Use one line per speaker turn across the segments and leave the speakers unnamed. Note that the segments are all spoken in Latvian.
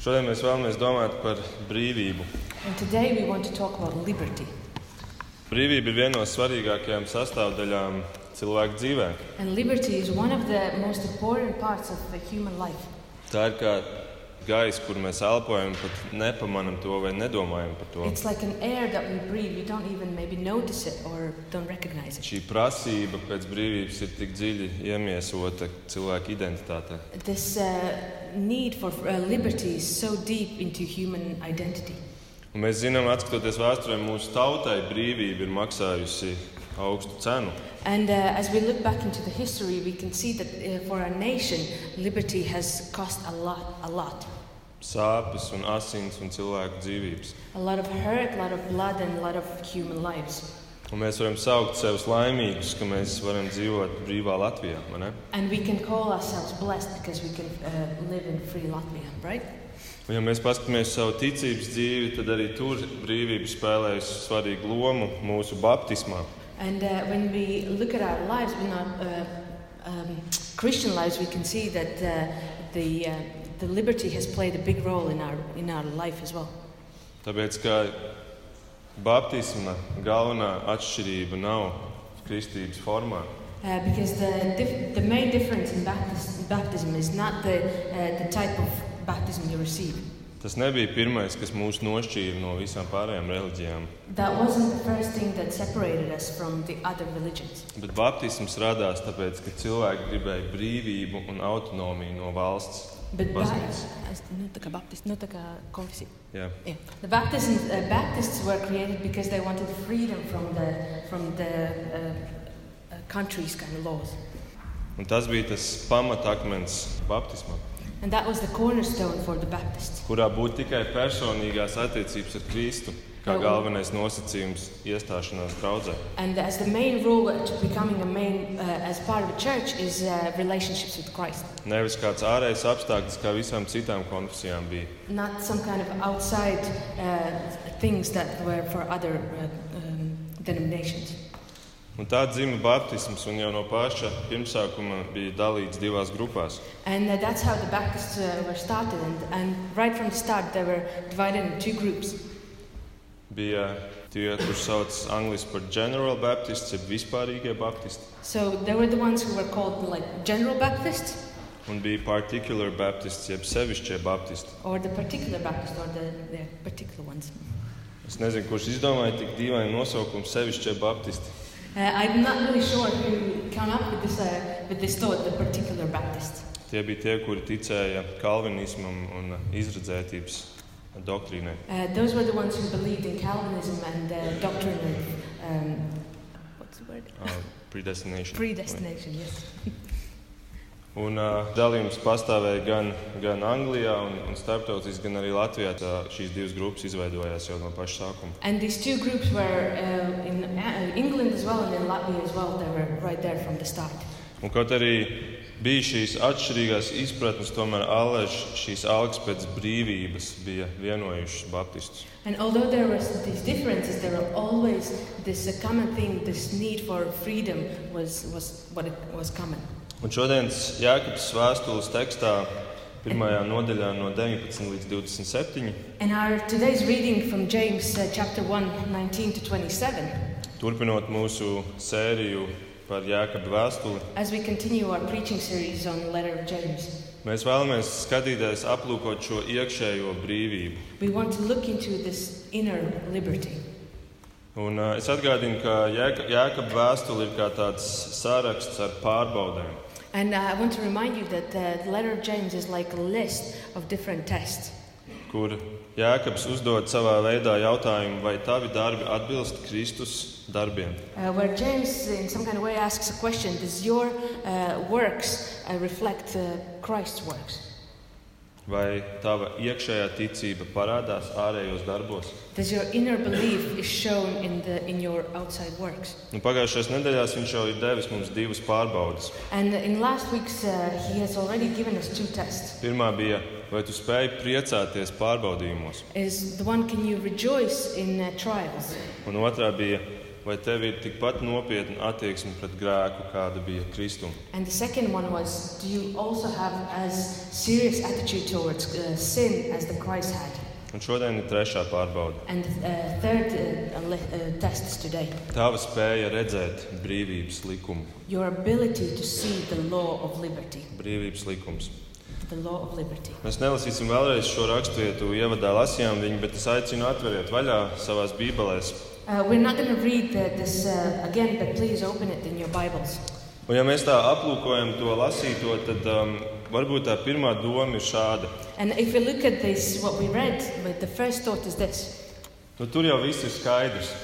Šodien mēs vēlamies domāt par brīvību.
And today we want to talk about liberty.
Brīvība ir viena no svarīgākajām sastāvdaļām cilvēka dzīvē.
And liberty is one of the most important parts of the human life.
Tā ir kā gaisa, kur mēs elpojam, pat nepamanām to vai nedomājam par to.
It's like an air that we breathe. We don't even maybe notice it or don't recognize it.
Šī prasība pēc brīvības ir tik dziļi iemiesota cilvēka identitātē.
This uh, need for uh, liberty is so deep into human identity.
Un mēs zinām, atskatoties vēsturē, mūsu tautai brīvība ir maksājusi augstu cenu.
And uh, as we look back into the history, we can see that uh, for our nation, liberty has cost a lot, a lot.
Sāpes, un asins un cilvēku dzīvības.
A lot of hurt, a lot of blood, and a lot of human lives.
Un mēs varam saukt sevi laimīgus, ka mēs varam dzīvot brīvā Latvijā. vai ne?
And we can call ourselves blessed because we can uh, live in free Latvia, right?
Un, ja mēs paskatāmies uz savu ticības dzīvi, tad arī tur brīvība spēlējusi svarīgu lomu mūsu baptismā.
And uh, when we look at our lives, in our uh, um, Christian lives, we can see that uh, the, uh, the liberty has played a big role in our, in our life as well.
Tāpēc, ka baptisma galvenā atšķirība nav kristības formā,
Uh, because the, dif- the main difference in baptism, baptism is not the, uh, the type of baptism you receive.
Tas nebija pirmais, kas mūs nošķīra no visām pārējām reliģijām.
That wasn't the first thing that separated us from the other religions.
Bet baptisms radās tāpēc, ka cilvēki gribēja brīvību un autonomiju no valsts.
But uh, ba-
baznīcas.
as- nu, tā kā Baptist, nu, tā kā konfesija.
Jā.
Yeah. The Baptist, uh, Baptists were created because they wanted freedom from the, from the uh, uh, country's kind of laws.
Un tas bija tas pamatakmens baptismam,
And that was the cornerstone for the Baptists.
kurā būtu tikai personīgās attiecības ar Kristu, kā
Jā, un-
galvenais nosacījums iestāšanās draudzē.
And as the main rule to becoming a main, uh, as part of a church, is uh, relationships with Christ.
Nevis kāds ārējs apstākļus, kā visām citām konfesijām bija.
Not some kind of outside uh, things that were for other uh, um, denominations.
Un tā dzima baptisms, un jau no paša pirmsākuma bija dalīts divās grupās.
And uh, that's how the Baptists uh, were started. And, and right from the start, they were divided into two groups.
bija tie, kurus sauc angļuiski par General Baptists, jeb vispārīgie baptisti,
So they were the ones who were called like General Baptists
un bija Particular Baptists, jeb sevišķie baptisti.
or the particular Baptists or the, the particular ones.
Es nezinu, kurš izdomāja tik dīvainu nosaukumu sevišķie baptisti.
Uh, I'm not really sure who came up with this, uh, with this thought, the particular Baptists.
Tie bija tie, kuri ticēja kalvinismam un izredzētības doktrīnai.
Uh, those were the ones who believed in Calvinism and the doctrine of, um, what's the word?
ā, uh, predestination.
Predestination, yes.
Un uh, dalījums pastāvēja gan, gan Anglijā, un, un starptautiski, gan arī Latvijā. Tā, šīs divas grupas izveidojās jau no paša sākuma.
And these two groups were uh, in uh, England as well and in Latvia as well. They were right there from the start.
Un kaut arī bija šīs atšķirīgās izpratnes, tomēr Alež šīs algas pēc brīvības bija vienojušas Baptistus.
And although there were these differences, there were always this uh, common thing, this need for freedom was, was what it was common.
Un šodienas Jēkabs vēstules tekstā, pirmajā nodaļā no 19 līdz 27,
And our today's reading from James uh, chapter 1, 19 to 27,
turpinot mūsu sēriju par Jēkabu vēstuli,
as we continue our preaching series on the letter of James,
mēs vēlamies skatīties, aplūkot šo iekšējo brīvību.
we want to look into this inner liberty.
Un, uh, es atgādinu, ka Jēka- Jēkabu vēstule ir kā tāds saraksts ar pārbaudēm.
And uh, I want to remind you that uh, the letter of James is like a list of different tests.
kur Jēkabs uzdod savā veidā jautājumu, vai tavi darbi atbilst Kristus darbiem.
Uh, where James, in some kind of way, asks a question Does your uh, works uh, reflect uh, Christ's works?
Vai tava iekšējā ticība parādās ārējos darbos?
Does your inner belief is shown in, the, in your outside works?
Nu, pagājušajās nedēļās viņš jau ir devis mums divas pārbaudes.
And in last week's, uh, he has already given us two tests.
Pirmā bija, vai tu spēj priecāties pārbaudījumos,
Is the one can you rejoice in uh, trials,
un otrā bija, vai tev ir tikpat nopietna attieksme pret grēku, kāda bija Kristum?
And the second one was, do you also have as serious attitude towards uh, sin as the Christ had?
Un šodien ir trešā pārbauda.
And uh, third uh, le- uh, tests today,
Tava spēja redzēt brīvības likumu.
your ability to see the law of liberty,
Brīvības likums.
the law of liberty.
Mēs nelasīsim vēlreiz šo raksturvietu, ievadā lasījām viņu, bet es aicinu atveriet vaļā savās bībelēs.
Uh, we're not going to read the, this uh, again, but please open it in your Bibles.
Un ja mēs tā aplūkojam to lasīto, tad um, varbūt tā pirmā doma ir šāda.
And if we look at this, what we read, but the first thought is this
Nu, tur jau viss ir skaidrs,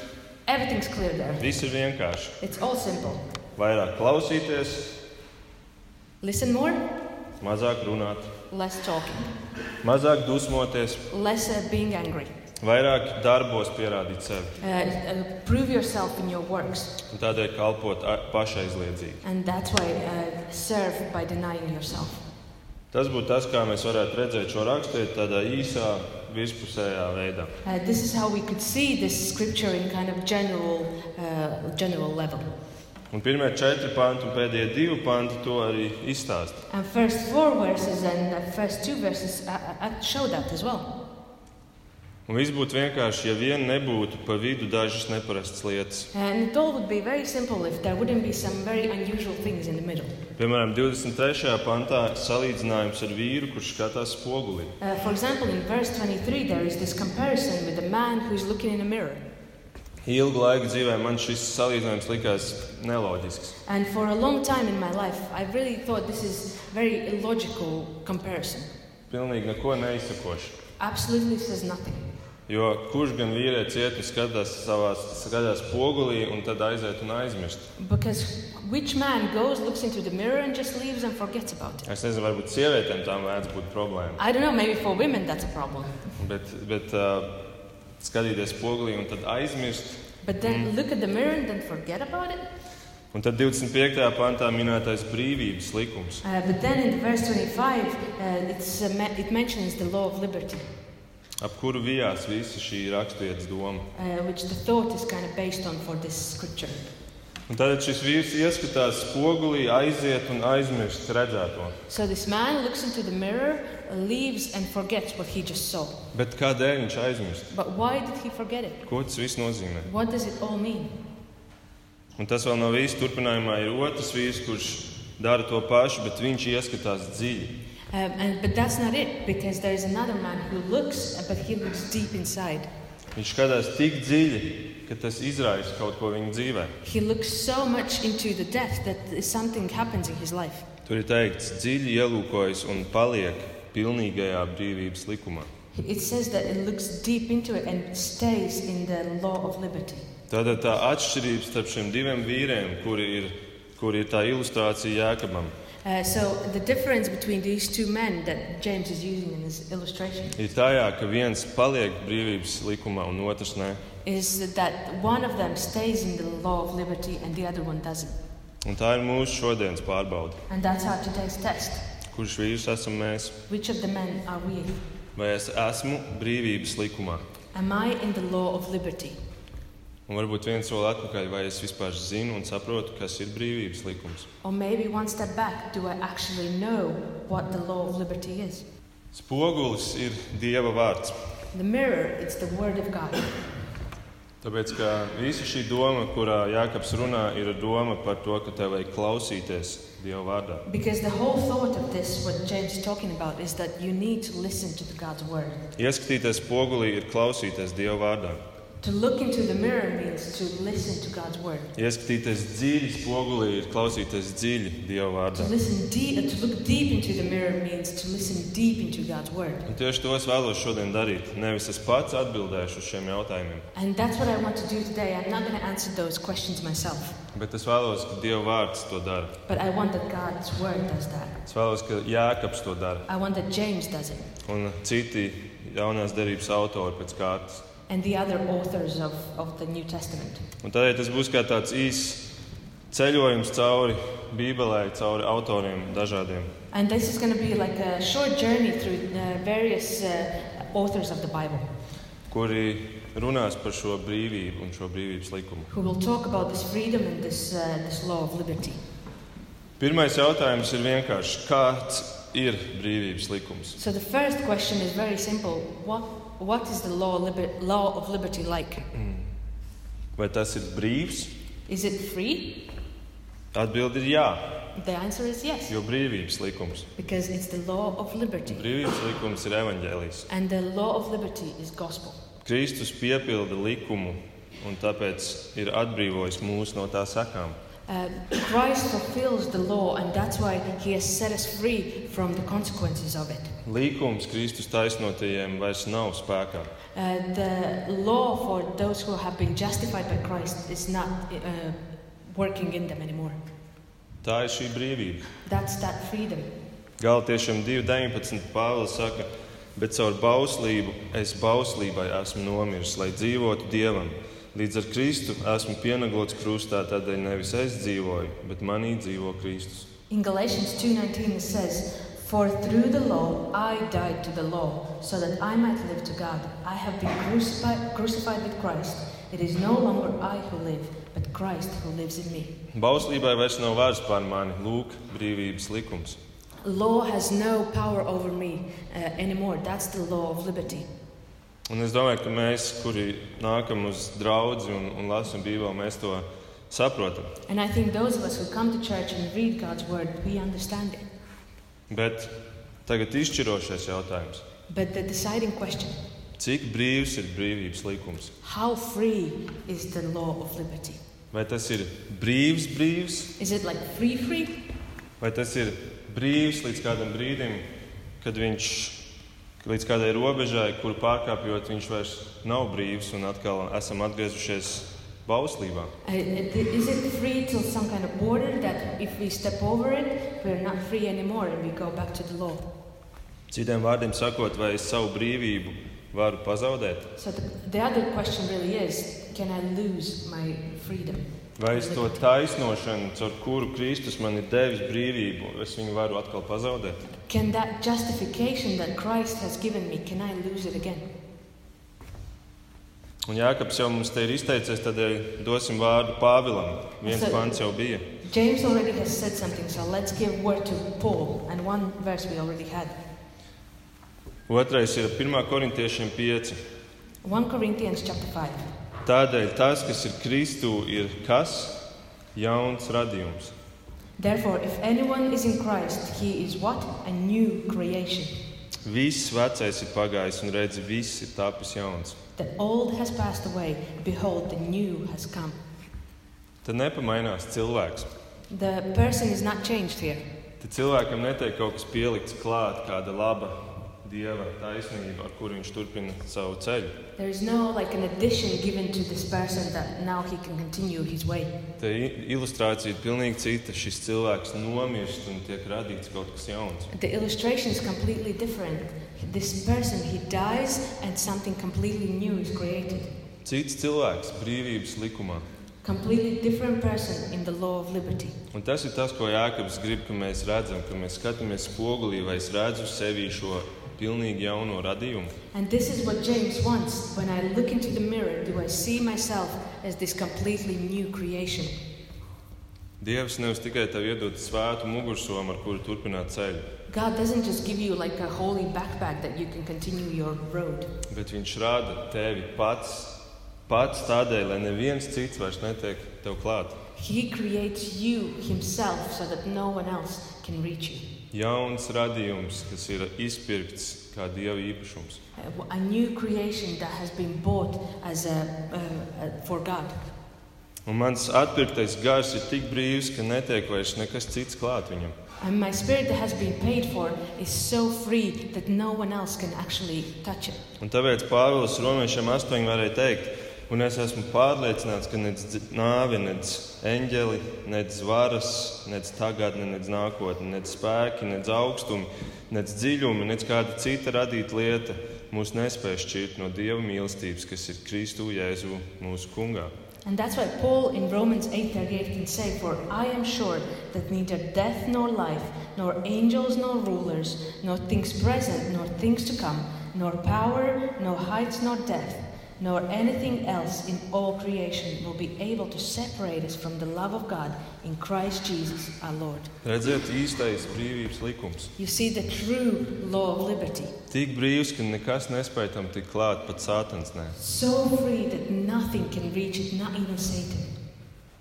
everything's clear there,
viss ir vienkārši.
it's all simple.
Vairāk klausīties,
Listen more,
mazāk runāt,
less talking,
mazāk dusmoties,
less uh, being angry.
vairāk darbos pierādīt sevi
Uh, uh, prove yourself in your works,
un tādēļ kalpot a- pašaizliedzīgi.
and that's why uh, serve by denying yourself.
Tas būtu tas, kā mēs varētu redzēt šo raksturu tādā īsā, virspusējā veidā.
Uh, this is how we could see this scripture in kind of general, uh, general level.
Un pirmie četri panti un pēdējie divi panti to arī izstāsta.
And first four verses and the first two verses uh, uh, uh, show that as well.
Un viss būtu vienkārši, ja vien nebūtu pa vidu dažas neparastas lietas.
And it all would be very simple if there wouldn't be some very unusual things in the middle.
Piemēram, 23. pantā salīdzinājums ar vīru, kurš skatās spogulī.
Uh, for example, in verse 23, there is this comparison with a man who's looking in a mirror.
Ilgu laiku dzīvē man šis salīdzinājums likās neloģisks.
And for a long time in my life, I really thought this is very illogical comparison.
Pilnīgi neko neizsakoši.
Absolutely says nothing.
Jo kurš gan vīrietis iet un skatās savā skaļā spogulī un tad aiziet un aizmirst?
Because which man goes, looks into the mirror, and just leaves and forgets about it?
Es nezinu, varbūt sievietēm tām vajadzētu būt problēma.
I don't know, maybe for women that's a problem.
Bet, bet uh, skatīties spogulī un tad aizmirst.
But then look at the mirror and then forget about it?
Un tad 25. pantā minētais brīvības likums.
Uh, but then in verse 25, uh, it's, uh, me- it mentions the law of liberty,
ap kuru vijās visa šī raksturītas doma.
uh, which the thought is kind of based on for this scripture.
Un tad šis vīrs ieskatās spogulī, aiziet un aizmirst redzēto.
So this man looks into the mirror, leaves, and forgets what he just saw.
Bet kādēļ viņš aizmirst?
But why did he forget it?
Ko tas viss nozīmē?
What does it all mean?
Un tas vēl nav īsti. Turpinājumā ir otrs vīrs, kurš dara to pašu, bet viņš ieskatās dziļi.
Um, and, but that's not it, because there is another man who looks, but he looks deep inside.
Viņš skatās tik dziļi, ka tas izraisa kaut ko viņa dzīvē.
He looks so much into the depth that something happens in his life.
Tur ir teikts, dziļi ielūkojas un paliek pilnīgajā brīvības likumā.
It says that it looks deep into it and stays in the law of liberty.
Tātad tā atšķirība starp šiem diviem vīriem, kuri ir, kuri ir tā ilustrācija jēkabam,
Uh, so the difference between these two men that James is using in his illustration
ir tajā, ka viens paliek brīvības likumā un otrs nē.
is that one of them stays in the law of liberty and the other one doesn't.
Un tā ir mūsu šodienas pārbaude.
And that's our today's test.
Kurš vīrs esam mēs?
Which of the men are we?
Vai es esmu brīvības likumā?
Am I in the law of liberty?
Un varbūt viens soli atpakaļ, vai es vispār zinu un saprotu, kas ir brīvības likums.
Or maybe one step back, do I actually know what the law of liberty is?
Spogulis ir dieva vārds.
The mirror, it's the word of God.
Tāpēc, ka visa šī doma, kurā Jānis runā, ir doma par to, ka tev vajag klausīties Dieva vārdā.
Because the whole thought of this, what James is talking about, is that you need to listen to the God's word.
Ieskatīties spogulī ir klausīties Dieva vārdā.
To look into the mirror means to listen to God's word.
Ieskatīties dziļi spogulī ir klausīties dziļi Dieva
To
vārdā.
listen deep, to look deep into the mirror means to listen deep into God's word.
Un tieši to es vēlos šodien darīt. Nevis es pats atbildēšu uz šiem jautājumiem,
And that's what I want to do today. I'm not going to answer those questions myself,
bet es vēlos, ka Dieva vārds to dara.
but I want that God's word does that.
Es vēlos, ka Jānis to dara
I want that James does it,
un citi jaunās derības autori pēc kārtas.
and the other authors of, of the New Testament.
Un tādēļ tas būs kā tāds īss ceļojums cauri Bībelē, cauri autoriem dažādiem.
And this uh, is going to be like a short journey through the various uh, authors of the Bible.
kuri runās par šo brīvību un šo brīvības likumu.
who will talk about this freedom and this, uh, this law of liberty.
Pirmais jautājums ir vienkāršs. Kāds ir brīvības likums?
So the first question is very simple. What, what is the law, liber- law of liberty like?
Vai tas ir brīvs?
Is it free?
Atbilde ir jā,
The answer is yes,
jo brīvības likums.
because it's the law of liberty.
Brīvības likums ir evaņģēlijs.
And the law of liberty is gospel.
Kristus piepilda likumu un tāpēc ir atbrīvojis mūs no tā sakām.
Uh, Christ fulfills the law, and that's why he has set us free from the consequences of it.
Līkums Kristus taisnotajiem vairs nav spēkā.
Uh, the law for those who have been justified by Christ is not uh, working in them anymore.
Tā ir šī brīvība.
That's that freedom.
Galotiešiem 2.19. Pāvils saka, bet caur bauslību es bauslībai esmu nomiris, lai dzīvotu dievam. Līdz ar Kristu esmu pienaglots krustā, tādēļ nevis es dzīvoju, bet manī dzīvo Kristus.
In Galatians 2:19 it says, "For through the law I died to the law, so that I might live to God. I have been crucified, crucified with Christ. It is no longer I who live, but Christ who lives in me."
Bauslībai vairs nav vairs pār mani, lūk, brīvības likums.
Law has no power over me uh, anymore. That's the law of liberty.
Un es domāju, ka mēs, kuri nākam uz draugu un, un lasām Bībeli, mēs to saprotam.
And I think those of us who come to church and read God's word, we understand it.
Bet tagad izšķirošais jautājums.
But the deciding question,
Cik brīvs ir brīvības likums?
how free is the law of liberty?
Vai tas ir brīvs, brīvs,
Is it like free free?
vai tas ir brīvs līdz kādam brīdim, kad viņš līdz kādai robežai, kuru pārkāpjot, viņš vairs nav brīvs un atkal esam atgriezušies bauslībā?
Uh, is it free till some kind of border that if we step over it, we're not free anymore and we go back to the law?
Citiem vārdiem sakot, vai es savu brīvību varu pazaudēt,
So the, the other question really is, can I lose my freedom?
Vai es to taisnošanu, caur kuru Kristus man ir devis brīvību, es viņu varu atkal pazaudēt?
Can that justification that Christ has given me, can I lose it again?
Un Jānis jau mums te ir izteicies, tādēļ dosim vārdu Pāvilam. Viens
Es-
pants jau bija.
James already has said something, so let's give word to Paul and one verse we already had.
Otrais ir 1. korintiešiem 5.
1 Corinthians chapter 5.
Tādēļ tas, kas ir Kristū, ir kas? Jauns radījums.
Therefore, if anyone is in Christ, he is what? A new creation.
Viss vecais ir pagājis, un redzi, viss ir tapis jauns.
The old has passed away, behold, the new has come.
Tad nepamainās cilvēks.
The person is not changed here.
Tad cilvēkam netiek kaut kas pielikts klāt, kāda laba dieva taisnība, ar kuru viņš turpina savu ceļu.
There is no like an addition given to this person that now he can continue his way.
Tā i- ilustrācija ir pilnīgi cita. Šis cilvēks nomirst un tiek radīts kaut kas jauns.
The illustration is completely different. This person, he dies and something completely new is created.
Cits cilvēks brīvības likumā.
Completely different person in the law of liberty.
Un tas ir tas, ko Jānis grib, ka mēs redzam, ka mēs skatāmies spogulī, vai es redzu sevī šo pilnīgi jauno radījumu.
And this is what James wants. When I look into the mirror, do I see myself as this completely new creation?
Dievs nevis tikai tev iedod svētu mugursomu, ar kuru turpināt ceļu,
God doesn't just give you like a holy backpack that you can continue your road.
bet Viņš rāda tevi pats, pats tādēļ, lai neviens cits vairs netiek tev klāt.
He creates you himself so that no one else can reach you.
Jauns radījums, kas ir izpirkts kā Dieva īpašums.
A- A new creation that has been bought as a, uh, uh, for God.
Un mans atpirktais gars ir tik brīvs, ka netiek vairs nekas cits klāt viņam.
And my spirit that has been paid for is so free that no one else can actually touch it.
Un tāpēc Pāvils Romiešiem astoņi varēja teikt, un es esmu pārliecināts, ka nec dz- nāve, nec eņģeli, nec varas, nec tagadne, nec nākotne, nec spēki, nec augstumi, nec dziļumi, nec kāda cita radīta lieta mūs nespēj šķirt no Dieva mīlestības, kas ir Kristu Jēzu mūsu kungā.
And that's why Paul in Romans 8:38 can say, "For I am sure that neither death nor life, nor angels nor rulers, nor things present nor things to come, nor power, nor heights, nor depth, nor anything else in all creation will be able to separate us from the love of God in Christ Jesus our Lord.
Redziet, īstais brīvības likums.
You see the true law of liberty,
Tik brīvs, ka nekas nespēj tam tik klāt, pat sātans nē.
so free that nothing can reach it, not even Satan.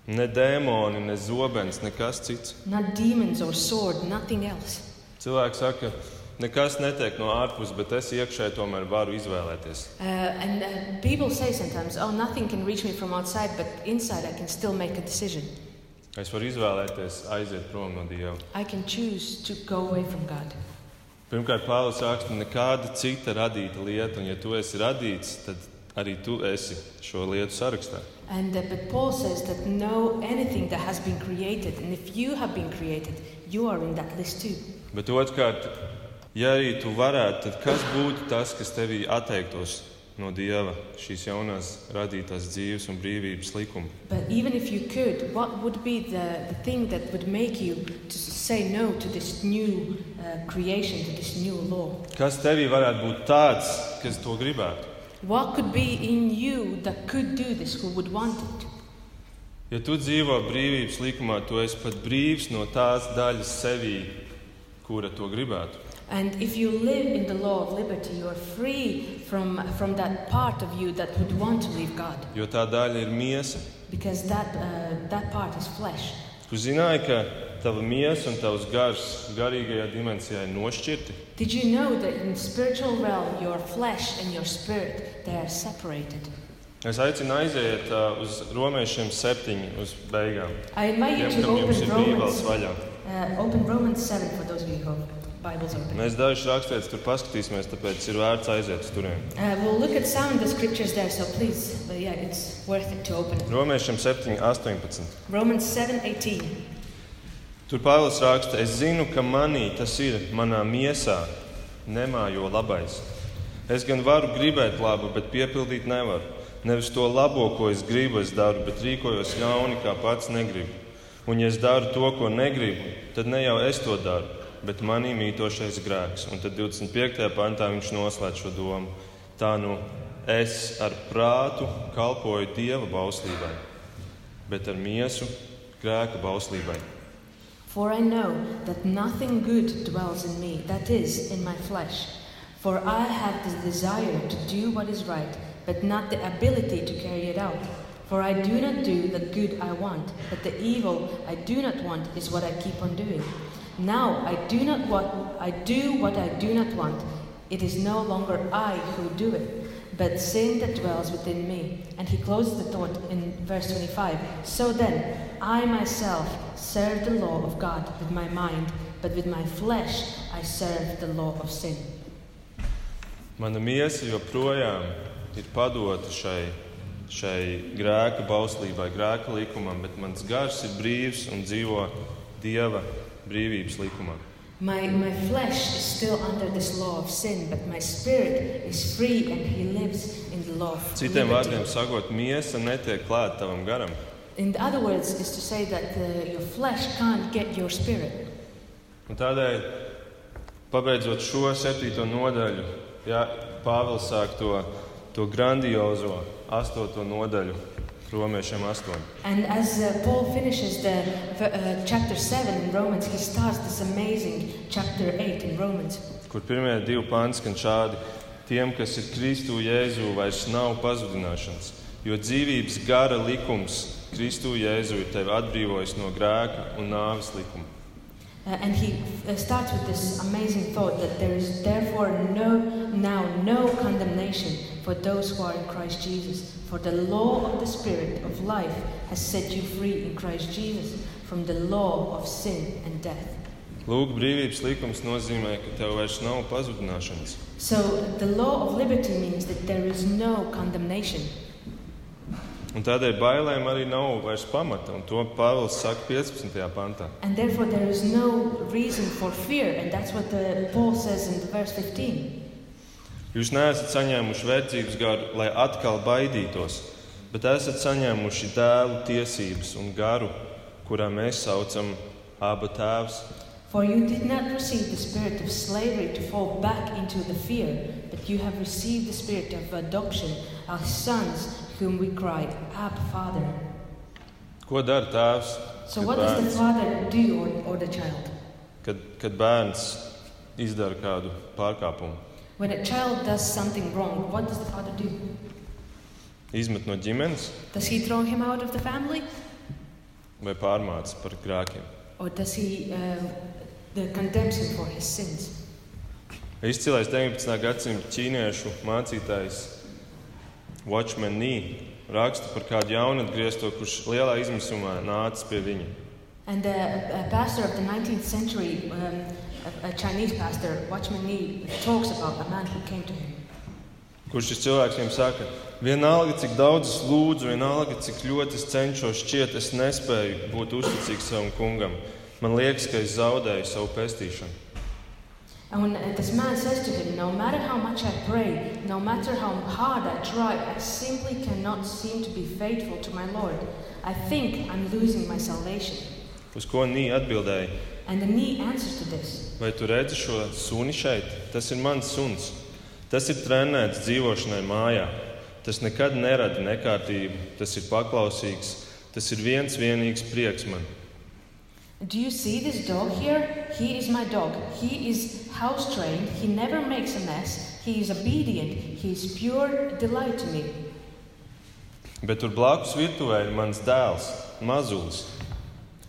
Ne dēmoni, ne zobens, nekas cits.
Not demons or sword, nothing else.
Cilvēks saka, nekas netiek no ārpuses, bet es iekšēji tomēr varu izvēlēties.
Uh, and uh, people say sometimes, oh, nothing can reach me from outside, but inside I can still make a decision.
Es varu izvēlēties aiziet prom no Dieva.
I can choose to go away from God.
Pirmkārt, Pāvils raksta, nekāda cita radīta lieta, un ja tu esi radīts, tad arī tu esi šo lietu sarakstā.
And uh, but Paul says that no, anything that has been created, and if you have been created, you are in that list too.
Bet otrkārt, ja arī tu varētu, tad kas būtu tas, kas tevī atteiktos no Dieva, šīs jaunās radītās dzīves un brīvības likuma?
But even if you could, what would be the, the thing that would make you to say no to this new uh, creation, to this new law?
Kas tevī varētu būt tāds, kas to gribētu?
What could be in you that could do this, who would want it?
Ja tu dzīvo brīvības likumā, tu esi pat brīvs no tās daļas sevī, kura to gribētu.
And if you live in the law of liberty, you are free from, from that part of you that would want to leave God,
Jo tā daļa ir miesa.
because that, uh, that part is flesh.
Tu zināji, ka tava miesa un tavs gars garīgajā dimensijā ir nošķirti.
Did you know that in spiritual realm, your flesh and your spirit they are separated?
Es aicinu aiziet ā, uz romiešiem septiņi uz beigām.
I invite you
Tiem,
to
kam jums ir
open
bībeles
Romans,
vaļā.
uh, open Romans seven for those of you who have Bibles open.
Mēs dažus rakstus tur paskatīsimies, tāpēc ir vērts aiziet uz turieni.
Uh, we'll look at some of the scriptures there, so please, but yeah, it's worth it to open. it.
Romiešiem 7, 18.
Romans seven eighteen.
Tur Pāvils raksta, es zinu, ka manī tas ir manā miesā, nemājo labais. Es gan varu gribēt labu, bet piepildīt nevaru. Nevis to labo, ko es gribu, es daru, bet rīkojos ļauni, kā pats negribu. Un, ja es daru to, ko negribu, tad ne jau es to daru, bet manī mītošais grēks. Un tad 25. pantā viņš noslēdz šo domu. Tā nu es ar prātu kalpoju dieva bauslībai, bet ar miesu grēka bauslībai.
For I know that nothing good dwells in me, that is, in my flesh. For I have the desire to do what is right, but not the ability to carry it out. For I do not do the good I want, but the evil I do not want is what I keep on doing. Now I do not what I do what I do not want. It is no longer I who do it, but sin that dwells within me. And he closes the thought in verse 25. So then, I myself serve the law of God with my mind, but with my flesh I serve the law of sin.
Mana miesa joprojām ir padota šai, šai grēka bauslībai, grēka likumam, bet mans gars ir brīvs un dzīvo dieva brīvības likumā.
My, my flesh is still under this law of sin, but my spirit is free and he lives in the law of
Citiem vārdiem
liberty.
sakot, miesa netiek klāta tavam garam.
In other words, is to say that uh, your flesh can't get your spirit.
Un tādēļ, pabeidzot šo septīto nodaļu, jā, Pāvils sāk to, to grandiozo astoto nodaļu, romiešiem astoņu.
And as uh, Paul finishes the uh, chapter 7 in Romans, he starts this amazing chapter 8 in Romans.
kur pirmie divi pāns skan šādi: Tiem, kas ir Kristū Jēzū, vairs nav pazudināšanas, jo dzīvības gara likums Kristū Jēzū ir tevi atbrīvojis no grēka un nāves likuma.
Uh, and he uh, starts with this amazing thought that there is therefore no now no condemnation for those who are in Christ Jesus for the law of the spirit of life has set you free in Christ Jesus from the law of sin and death
Lūk, brīvības likums nozīmē, ka tev vairs nav pazudināšanas.
so the law of liberty means that there is no condemnation
Un tādēļ bailēm arī nav vairs pamata, un to Pāvils saka 15. pantā.
and therefore there is no reason for fear and that's what the, Paul says in verse 15
Jūs neesat saņēmuši verdzības garu, lai atkal baidītos, bet esat saņēmuši dēlu tiesības un garu, kurā mēs saucam abu tēvs.
For you did not receive the spirit of slavery to fall back into the fear, but you have received the spirit of adoption, as sons, whom we cried, Ab, Father.
Ko dara tēvs,
So,
kad
what does the
bērns-
father do or, or the child?
kad, kad bērns izdara kādu pārkāpumu?
When a child does something wrong, what does the father do?
Izmet no ģimenes
Does he throw him out of the family?
vai pārmāca par grēkiem?
Or does he uh, the condemns him for his sins?
Izcilais 19. gadsimta ķīniešu mācītājs Watchman Nee raksta par kādu jaunatgriezto, kurš lielā izmisumā nāca pie viņa.
And the a pastor of the 19th century, um, a, a Chinese pastor, Watchman Nee, talks about a man who came to him.
Kurš šis cilvēks viņam saka, vienalga cik daudz es lūdzu, vienalga cik ļoti es cenšos, šķiet, es nespēju būt uzticīgs savam kungam. Man liekas, ka es zaudēju savu pestīšanu.
And when uh, this man says to him, No matter how much I pray, no matter how hard I try, I simply cannot seem to be faithful to my Lord. I think I'm losing my salvation.
Uz ko Nī atbildēja,
And the knee answers to this
vai tu redzi šo suni šeit? Tas ir mans suns. Tas ir trenēts dzīvošanai mājā. Tas nekad nerada nekārtību, tas ir paklausīgs, tas ir viens vienīgs prieks man.
Do you see this dog here? He is my dog. He is house trained. He never makes a mess. He is obedient. He is pure delight to me.
Bet tur blakus virtuvē ir mans dēls, mazulis.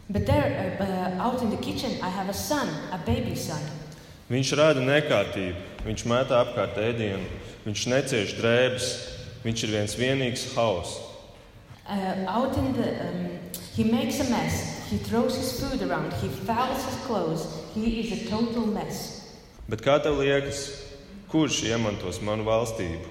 But there, uh, uh, out in the kitchen, I have a son, a baby son.
Viņš rada nekārtību, viņš metā apkārt ēdienu, viņš necieš drēbes, viņš ir viens vienīgs haoss.
Uh, out in the, um, he makes a mess. He throws his food around. He fouls his clothes. He is a total mess.
Bet kā tev liekas, kurš iemantos manu valstību?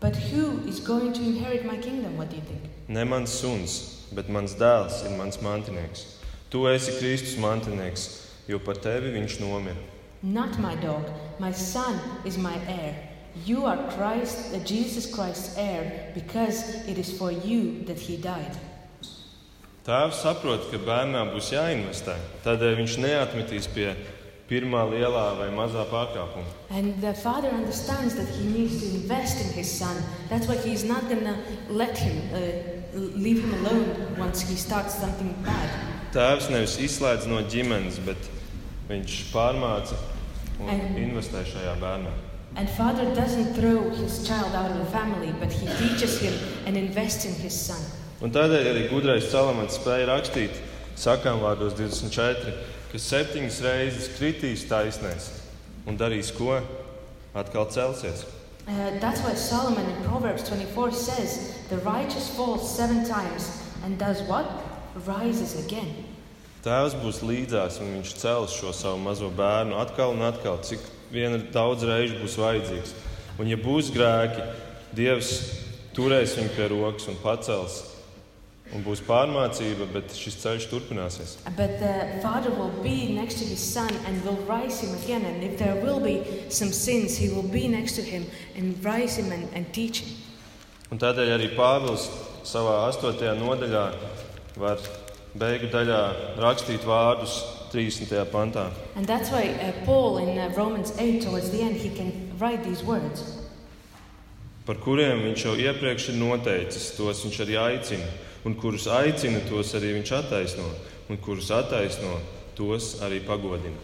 But who is going to inherit my kingdom? What do you think?
Ne mans suns, bet mans dēls ir mans mantinieks. Tu esi Kristus mantinieks, jo par tevi viņš nomira.
Not my dog. My son is my heir. You are Christ, uh, Jesus Christ's heir, because it is for you that he died.
Tēvs saprot, ka bērnam būs jāinvestē, tādēļ viņš neatmetīs pie pirmā lielā vai mazā pārkāpuma.
And the father understands that he needs to invest in his son. That's why he's not gonna let him, uh, leave him alone once he starts something bad.
Tēvs nevis izslēdz no ģimenes, bet viņš pārmāca un
Ai.
investē šajā bērnā.
And father doesn't throw his child out of the family, but he teaches him and invests in his son.
Un tādēļ arī gudrais Salamans spēja rakstīt, sakām vārdos 24, ka septiņas reizes kritīs taisnēs un darīs ko? Atkal celsies.
Uh, that's why Solomon in Proverbs 24 says, The righteous falls seven times and does what? Rises again.
Tēvs būs līdzās un viņš cels šo savu mazo bērnu atkal un atkal, cik vien daudz reižu būs vajadzīgs. Un ja būs grēki, Dievs turēs viņu pie rokas un pacels. Un būs pārmācība, bet šis ceļš turpināsies.
But the father will be next to his son and will rise him again. And if there will be some sins, he will be next to him and rise him and, and teach him.
Un tādēļ arī Pāvils savā 8. nodaļā var beigu daļā rakstīt vārdus 30. pantā.
And that's why uh, Paul in uh, Romans 8, towards the end, he can write these words.
par kuriem viņš jau iepriekš ir noteicis, tos viņš arī aicina, un kurus aicina, tos arī viņš attaisno, un kurus attaisno, tos arī pagodina.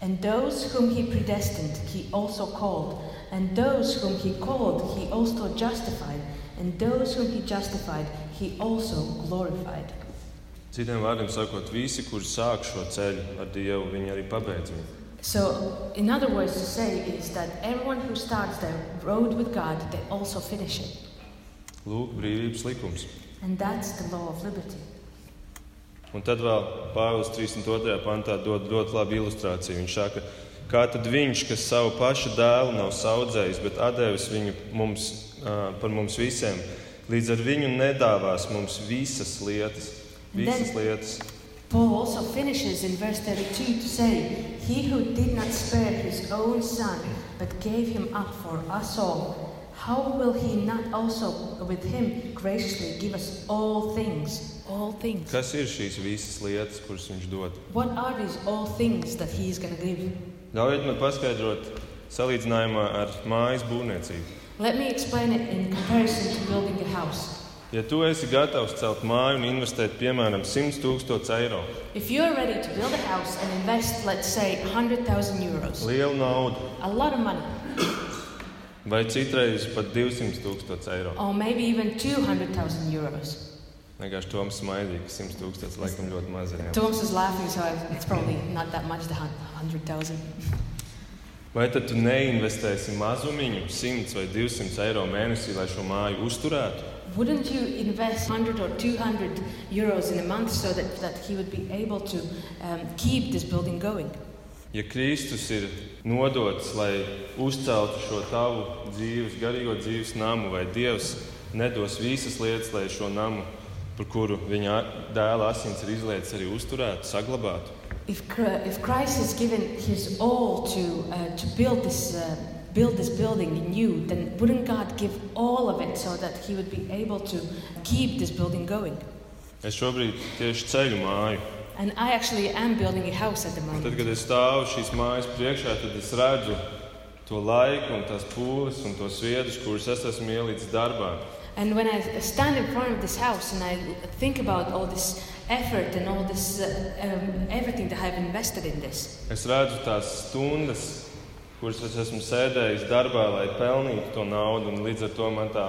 And those whom he predestined, he also called. And those whom he called, he also justified. And those whom he justified, he also glorified.
Citiem vārdiem sakot, visi, kuri sāk šo ceļu ar Dievu, viņi arī pabeidz viņu.
So, in other words, to say is that everyone who starts their road with God, they also finish it.
Lūk, brīvības likums.
And that's the law of liberty.
Un tad vēl Pāvils 32. pantā dod ļoti labu ilustrāciju. Viņš saka, kā tad viņš, kas savu pašu dēlu nav audzējis, bet devis viņu mums, ā, par mums visiem, līdz ar viņu nedāvās mums visas lietas. Visas
Then-
lietas.
Paul also finishes in verse 32 to say, He who did not spare his own son, but gave him up for us all, how will he not also with him graciously give us all things? All things.
Kas ir šīs visas lietas, kuras viņš dod?
What are these all things that he is going to give?
Ļaujiet man paskaidrot salīdzinājumā ar mājas būvniecību.
Let me explain it in comparison to building a house.
Ja tu esi gatavs celt māju un investēt piemēram 100 000 eiro,
If you're ready to build a house and invest, let's say, 100,000 euros,
lielu naudu,
a lot of money,
vai citreiz pat 200 000 eiro,
or maybe even 200,000 euros.
vienkārši Toms smaidīja, ka 100 000 laikam ļoti maz ir. jā.
Thomas is laughing, so I- it's probably not that much, the hun- 100,000.
Vai tad tu neinvestēsi mazumiņu, 100 vai 200 eiro mēnesī, lai šo māju uzturētu?
Wouldn't you invest 100 or 200 euros in a month so that, that he would be able to um, keep this building going?
Ja Kristus ir nodots, lai uzceltu šo tavu dzīves, garīgo dzīves namu, vai Dievs nedos visas lietas, lai šo namu, par kuru viņa a- dēla asins ir izlietas, arī uzturētu, saglabātu.
If, Cr- if Christ has given his all to, uh, to build, this, uh, build this building anew, then wouldn't God give all of it so that he would be able to keep this building going?
Es šobrīd tieši ceļu māju.
And I actually am building a house at the
Un Tad,
moment.
kad es stāvu šīs mājas priekšā, tad es redzu to laiku, un tās pūles un tos viedus, kurus es esmu ielicis darbā.
And when I stand in front of this house and I think about all this effort and all this, uh, um, everything that I've invested in this,
Es redzu tās stundas, kuras es esmu sēdējis darbā, lai pelnītu to naudu. un Līdz ar to man tā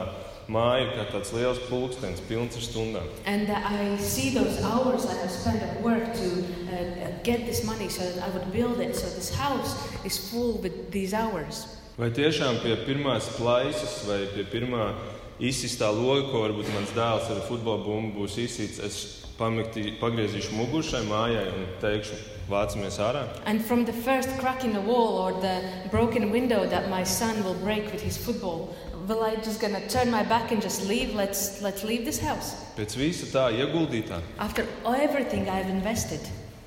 māja ir kā tāds liels pulkstenis, pilns ar stundām.
And uh, I see those hours that I spent at work to uh, uh, get this money so that I would build it. So this house is full with these hours.
Vai tiešām pie pirmās plaisas vai pie pirmā izsistā loga, ko varbūt mans dēls ar futbola bumbu būs izsīts, es pamektī, pagriezīšu muguru šai mājai un teikšu, vācamies ārā.
And from the first crack in the wall or the broken window that my son will break with his football, will I just gonna turn my back and just leave? Let's let's leave this house.
Pēc visa tā ieguldītā
After everything I've invested,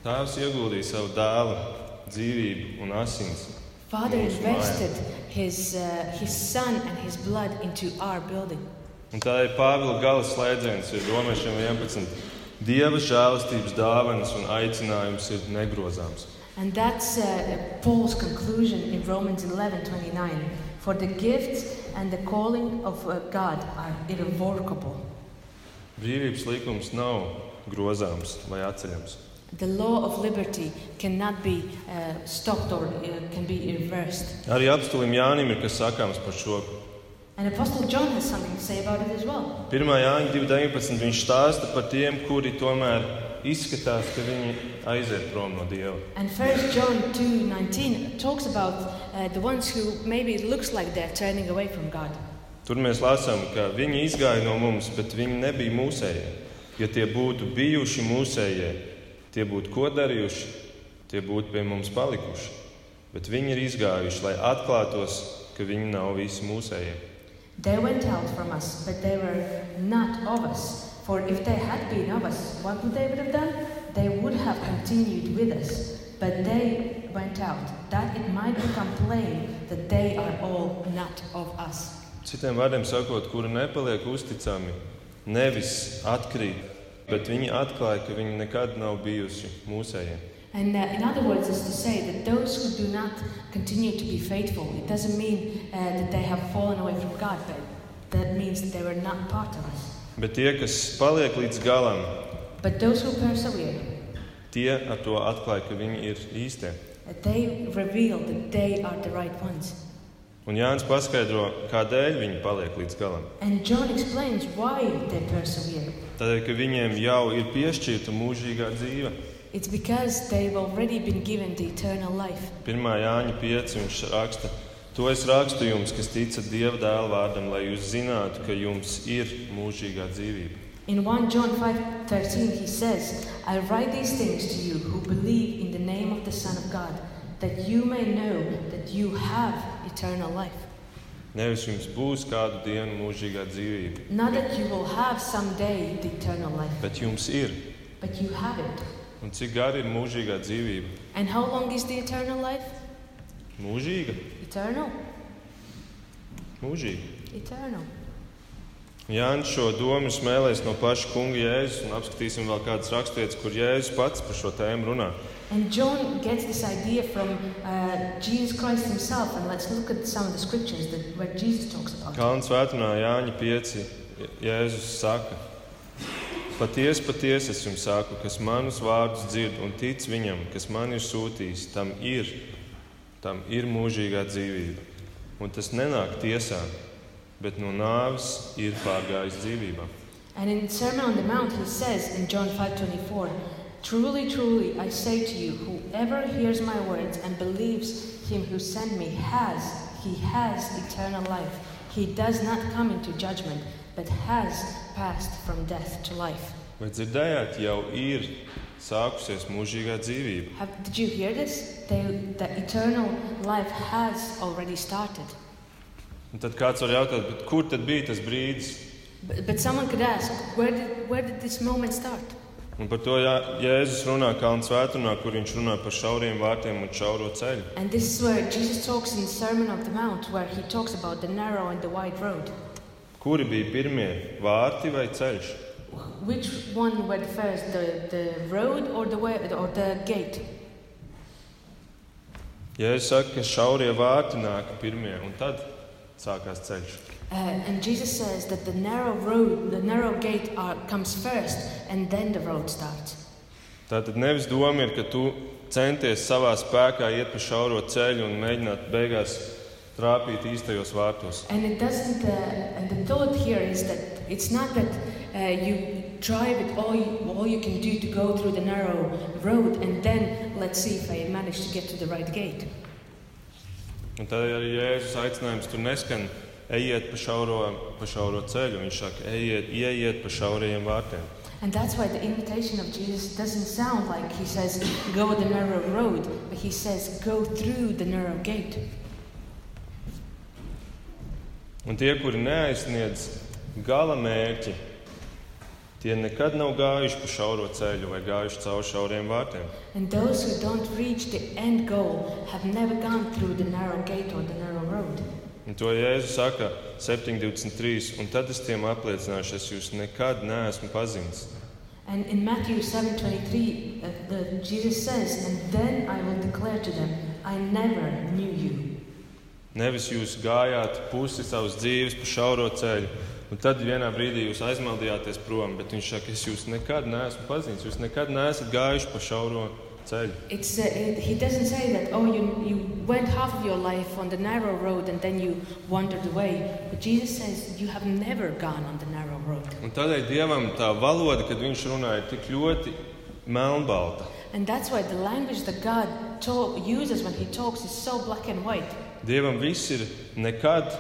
tēvs ieguldīja savu dēlu dzīvību un asins.
Father
Yes, mine.
invested his uh, his son and his blood into our building.
Un tā ir Pāvila gala slēdziens, ir romiešiem 11. Dieva žēlastības dāvanas un aicinājums ir negrozāms.
And that's uh, Paul's conclusion in Romans 11:29. For the gifts and the calling of uh, God are irrevocable.
Brīvības likums nav grozāms vai atceļams.
The law of liberty cannot be uh, stopped or uh, can be reversed.
Arī apstulim Jānim ir kas sakāms par šo.
And Apostle John has something to say about it as well.
1. Jāņa 2.19. viņš stāsta par tiem, kuri tomēr izskatās, ka viņi aiziet prom no Dieva.
And 1 John 2:19 talks about uh, the ones who maybe it looks like they're turning away from God.
Tur mēs lasām, ka viņi izgāja no mums, bet viņi nebija mūsējie. Ja tie būtu bijuši mūsējie, tie būtu ko darījuši, tie būtu pie mums palikuši. Bet viņi ir izgājuši, lai atklātos, ka viņi nav visi mūsējie.
They went out from us, but they were not of us. For if they had been of us, what would they would have done? They would have continued with us. But they went out, that it might become plain that they are all not of us.
Citiem vārdiem sakot, kuri nepaliek uzticami, nevis atkrīt, bet viņi atklāja, ka viņi nekad nav bijuši mūsējie.
And uh, in other words, is to say that those who do not continue to be faithful, it doesn't mean uh, that they have fallen away from God, but that means that they were not part of us.
Bet tie, kas paliek līdz galam,
But those who persevere,
tie ar to atklāja, ka viņi ir īstie.
uh, they reveal that they are the right ones.
Un Jānis paskaidro, kādēļ viņi paliek līdz galam.
And John explains why they persevere.
Tādēļ, ka viņiem jau ir piešķirta mūžīgā dzīve.
It's because they've already been given the eternal life.
1. Jāņa 5. viņš raksta, to es rakstu jums, kas ticat Dieva dēla vārdam, lai jūs zinātu, ka jums ir mūžīgā dzīvība.
In 1 John 5:13 he says, "I write these things to you who believe in the name of the Son of God, that you may know that you have eternal life.
Nevis jums būs kādu dienu mūžīgā dzīvība,
Not that you will have someday the eternal life,
bet jums ir.
but you have it.
Un cik gara ir mūžīgā dzīvība?
And how long is the eternal life?
Mūžīga.
Eternal.
mūžīgi.
eternal.
Jānis šo domu smēlēs no paša kunga Jēzus un apskatīsim vēl kādas rakstītas, kur Jēzus pats par šo tēmu runā.
And John gets this idea from uh, Jesus Christ himself. And let's look at some of the scriptures that, where Jesus talks about it.
Kalnu svētdienā Jāņa 5. Jēzus saka, patiesi, patiesi es jums saku, kas manus vārdus dzird un tic viņam, kas man ir sūtījis, tam ir, tam ir mūžīgā dzīvība. Un tas nenāk tiesā, bet no nāves ir pārgājis dzīvībā.
And in Sermon on the Mount, he says in John 5:24, "Truly, truly, I say to you, whoever hears my words and believes him who sent me has he has eternal life. He does not come into judgment, but has passed from death to life."
Vai dzirdējāt, jau ir sākusies mūžīgā dzīvība?
Have, did you hear this? They, the eternal life has already started.
Un tad kāds var jautāt, "Bet kur tad bija tas brīdis?
But, but someone could ask, where did, where did this moment start?
Un par to Jā, Jēzus runā Kalnu svētdienā, kur viņš runā par šauriem vārtiem un šauro ceļu.
And this is where Jesus talks in Sermon on the Mount, where he talks about the narrow and the wide road.
Kuri bija pirmie vārti vai ceļš?
Which one went first, the, the road or the way or the gate?
Jēzus saka, ka šaurie vārti nāk pirmie, un tad sākās ceļš.
Uh, and Jesus says that the narrow road, the narrow gate, are, comes first, and then the road starts.
Tātad nevis doma ir, ka tu centies savā spēkā iet pa šauro ceļu un mēģināt beigās trāpīt īstajos vārtos.
And it doesn't. Uh, and the thought here is that it's not that uh, you drive it all you, all you can do to go through the narrow road, and then let's see if I manage to get to the right gate.
Un tad arī Jēzus aicinājums tur neskan. Ejiet pa šauro, pa šauro ceļu. Viņš saka, ejiet, ejiet pa šaurajiem vārtiem.
And that's why the invitation of Jesus doesn't sound like he says, go the narrow road, but he says, go through the narrow gate.
Un tie, kuri neaizsniedz gala mērķi, tie nekad nav gājuši pa šauro ceļu vai gājuši cauri šauriem vārtiem.
And those who don't reach the end goal have never gone through the narrow gate or the narrow road.
Un to Jēzus saka 7,23. Un tad es tiem apliecināšu, es jūs nekad neesmu pazinis.
And in Matthew 7:23, uh, the, Jesus says, "And then I will declare to them, I never knew you."
Nevis jūs gājāt pusi savas dzīves pa šauro ceļu, un tad vienā brīdī jūs aizmaldījāties prom. Bet viņš saka, es jūs nekad neesmu pazinis. Jūs nekad neesat gājuši pa šauro ceļu.
It's, uh, it, he doesn't say that, "Oh, you you went half of your life on the narrow road and then you wandered away." But Jesus says, "You have never gone on the narrow road."
Un tādēļ dievam tā valoda, kad viņš runāja, ir tik ļoti melnbalta.
And that's why the language that God ta- uses when He talks is so black and white.
Dievam viss ir nekad,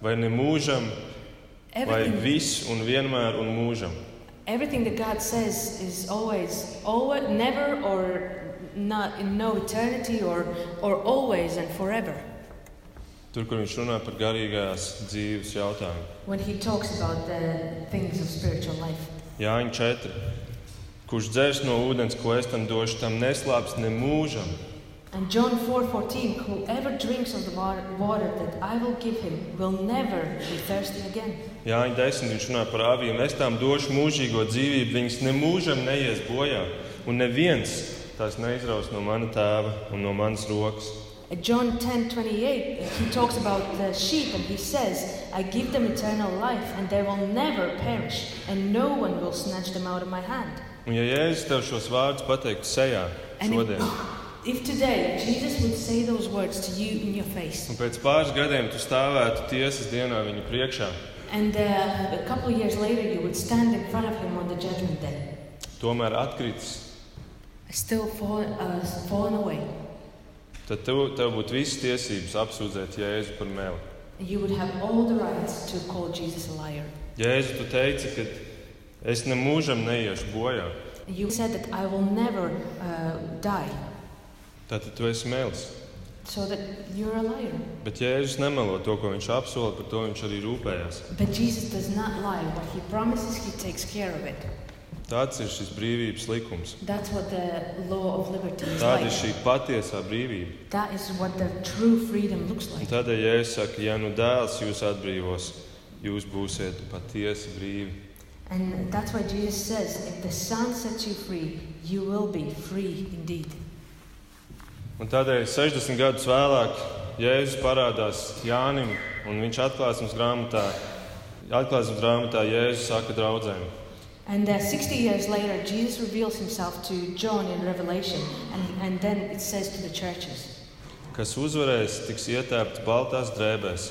vai ne mūžam, vai
Everything
viss un vienmēr un mūžam.
Everything that God says is always, always, never, or not in no eternity, or or always and forever.
Tur, kur viņš runā par garīgās dzīves jautājumu.
When He talks about the things of spiritual life,
Jāņa 4. Kurš dzers no ūdens, ko es tam došu, tam neslāps ne mūžam.
and John four fourteen, whoever drinks of the water, water that I will give him will never be thirsty again.
Jāņa 10. viņš runā par avīm. Es tām došu mūžīgo dzīvību, viņas ne mūžam neies bojā. Un neviens tās neizraus no mana tēva un no manas rokas.
At John 10 28, he talks about the sheep and he says, I give them eternal life and they will never perish, and no one will snatch them out of my hand.
Un ja Jēzus tev šos vārdus pateiktu sejā
And
šodien,
If today Jesus would say those words to you in your face,
un pēc pāris gadiem tu stāvētu tiesas dienā viņa priekšā,
and uh, a couple years later you would stand in front of him on the judgment day,
tomēr atkritis,
still fall, uh, fallen away,
tad tev, tev būtu visas tiesības apsūdzēt Jēzu par meli.
you would have all the rights to call Jesus a liar.
Jēzu, tu teici, ka es ne mūžam neiešu bojā.
You said that I will never uh, die,
Tātad tu esi melis.
so that you're a liar.
Bet Jēzus nemelo to, ko viņš apsolīja, par to viņš arī rūpējās.
But Jesus does not lie. What he promises, he takes care of it.
Tāds ir šis brīvības likums.
That's what the law of liberty is
Tāda ir
like.
šī patiesā brīvība.
That is what the true freedom looks
Un
like.
tādēļ, ja es saku, ja nu dēls jūs atbrīvos, jūs būsiet patiesi brīvi.
And that's why Jesus says, if the Son sets you free, you will be free indeed.
Un tādēļ 60 gadus vēlāk Jēzus parādās Jānim, un viņš atklāsmes grāmatā, atklāsmes grāmatā Jēzus saka draudzēm.
And uh, 60 years later, Jesus reveals himself to John in Revelation, and, and then it says to the churches.
Kas uzvarēs, tiks ietērpts baltās drēbēs,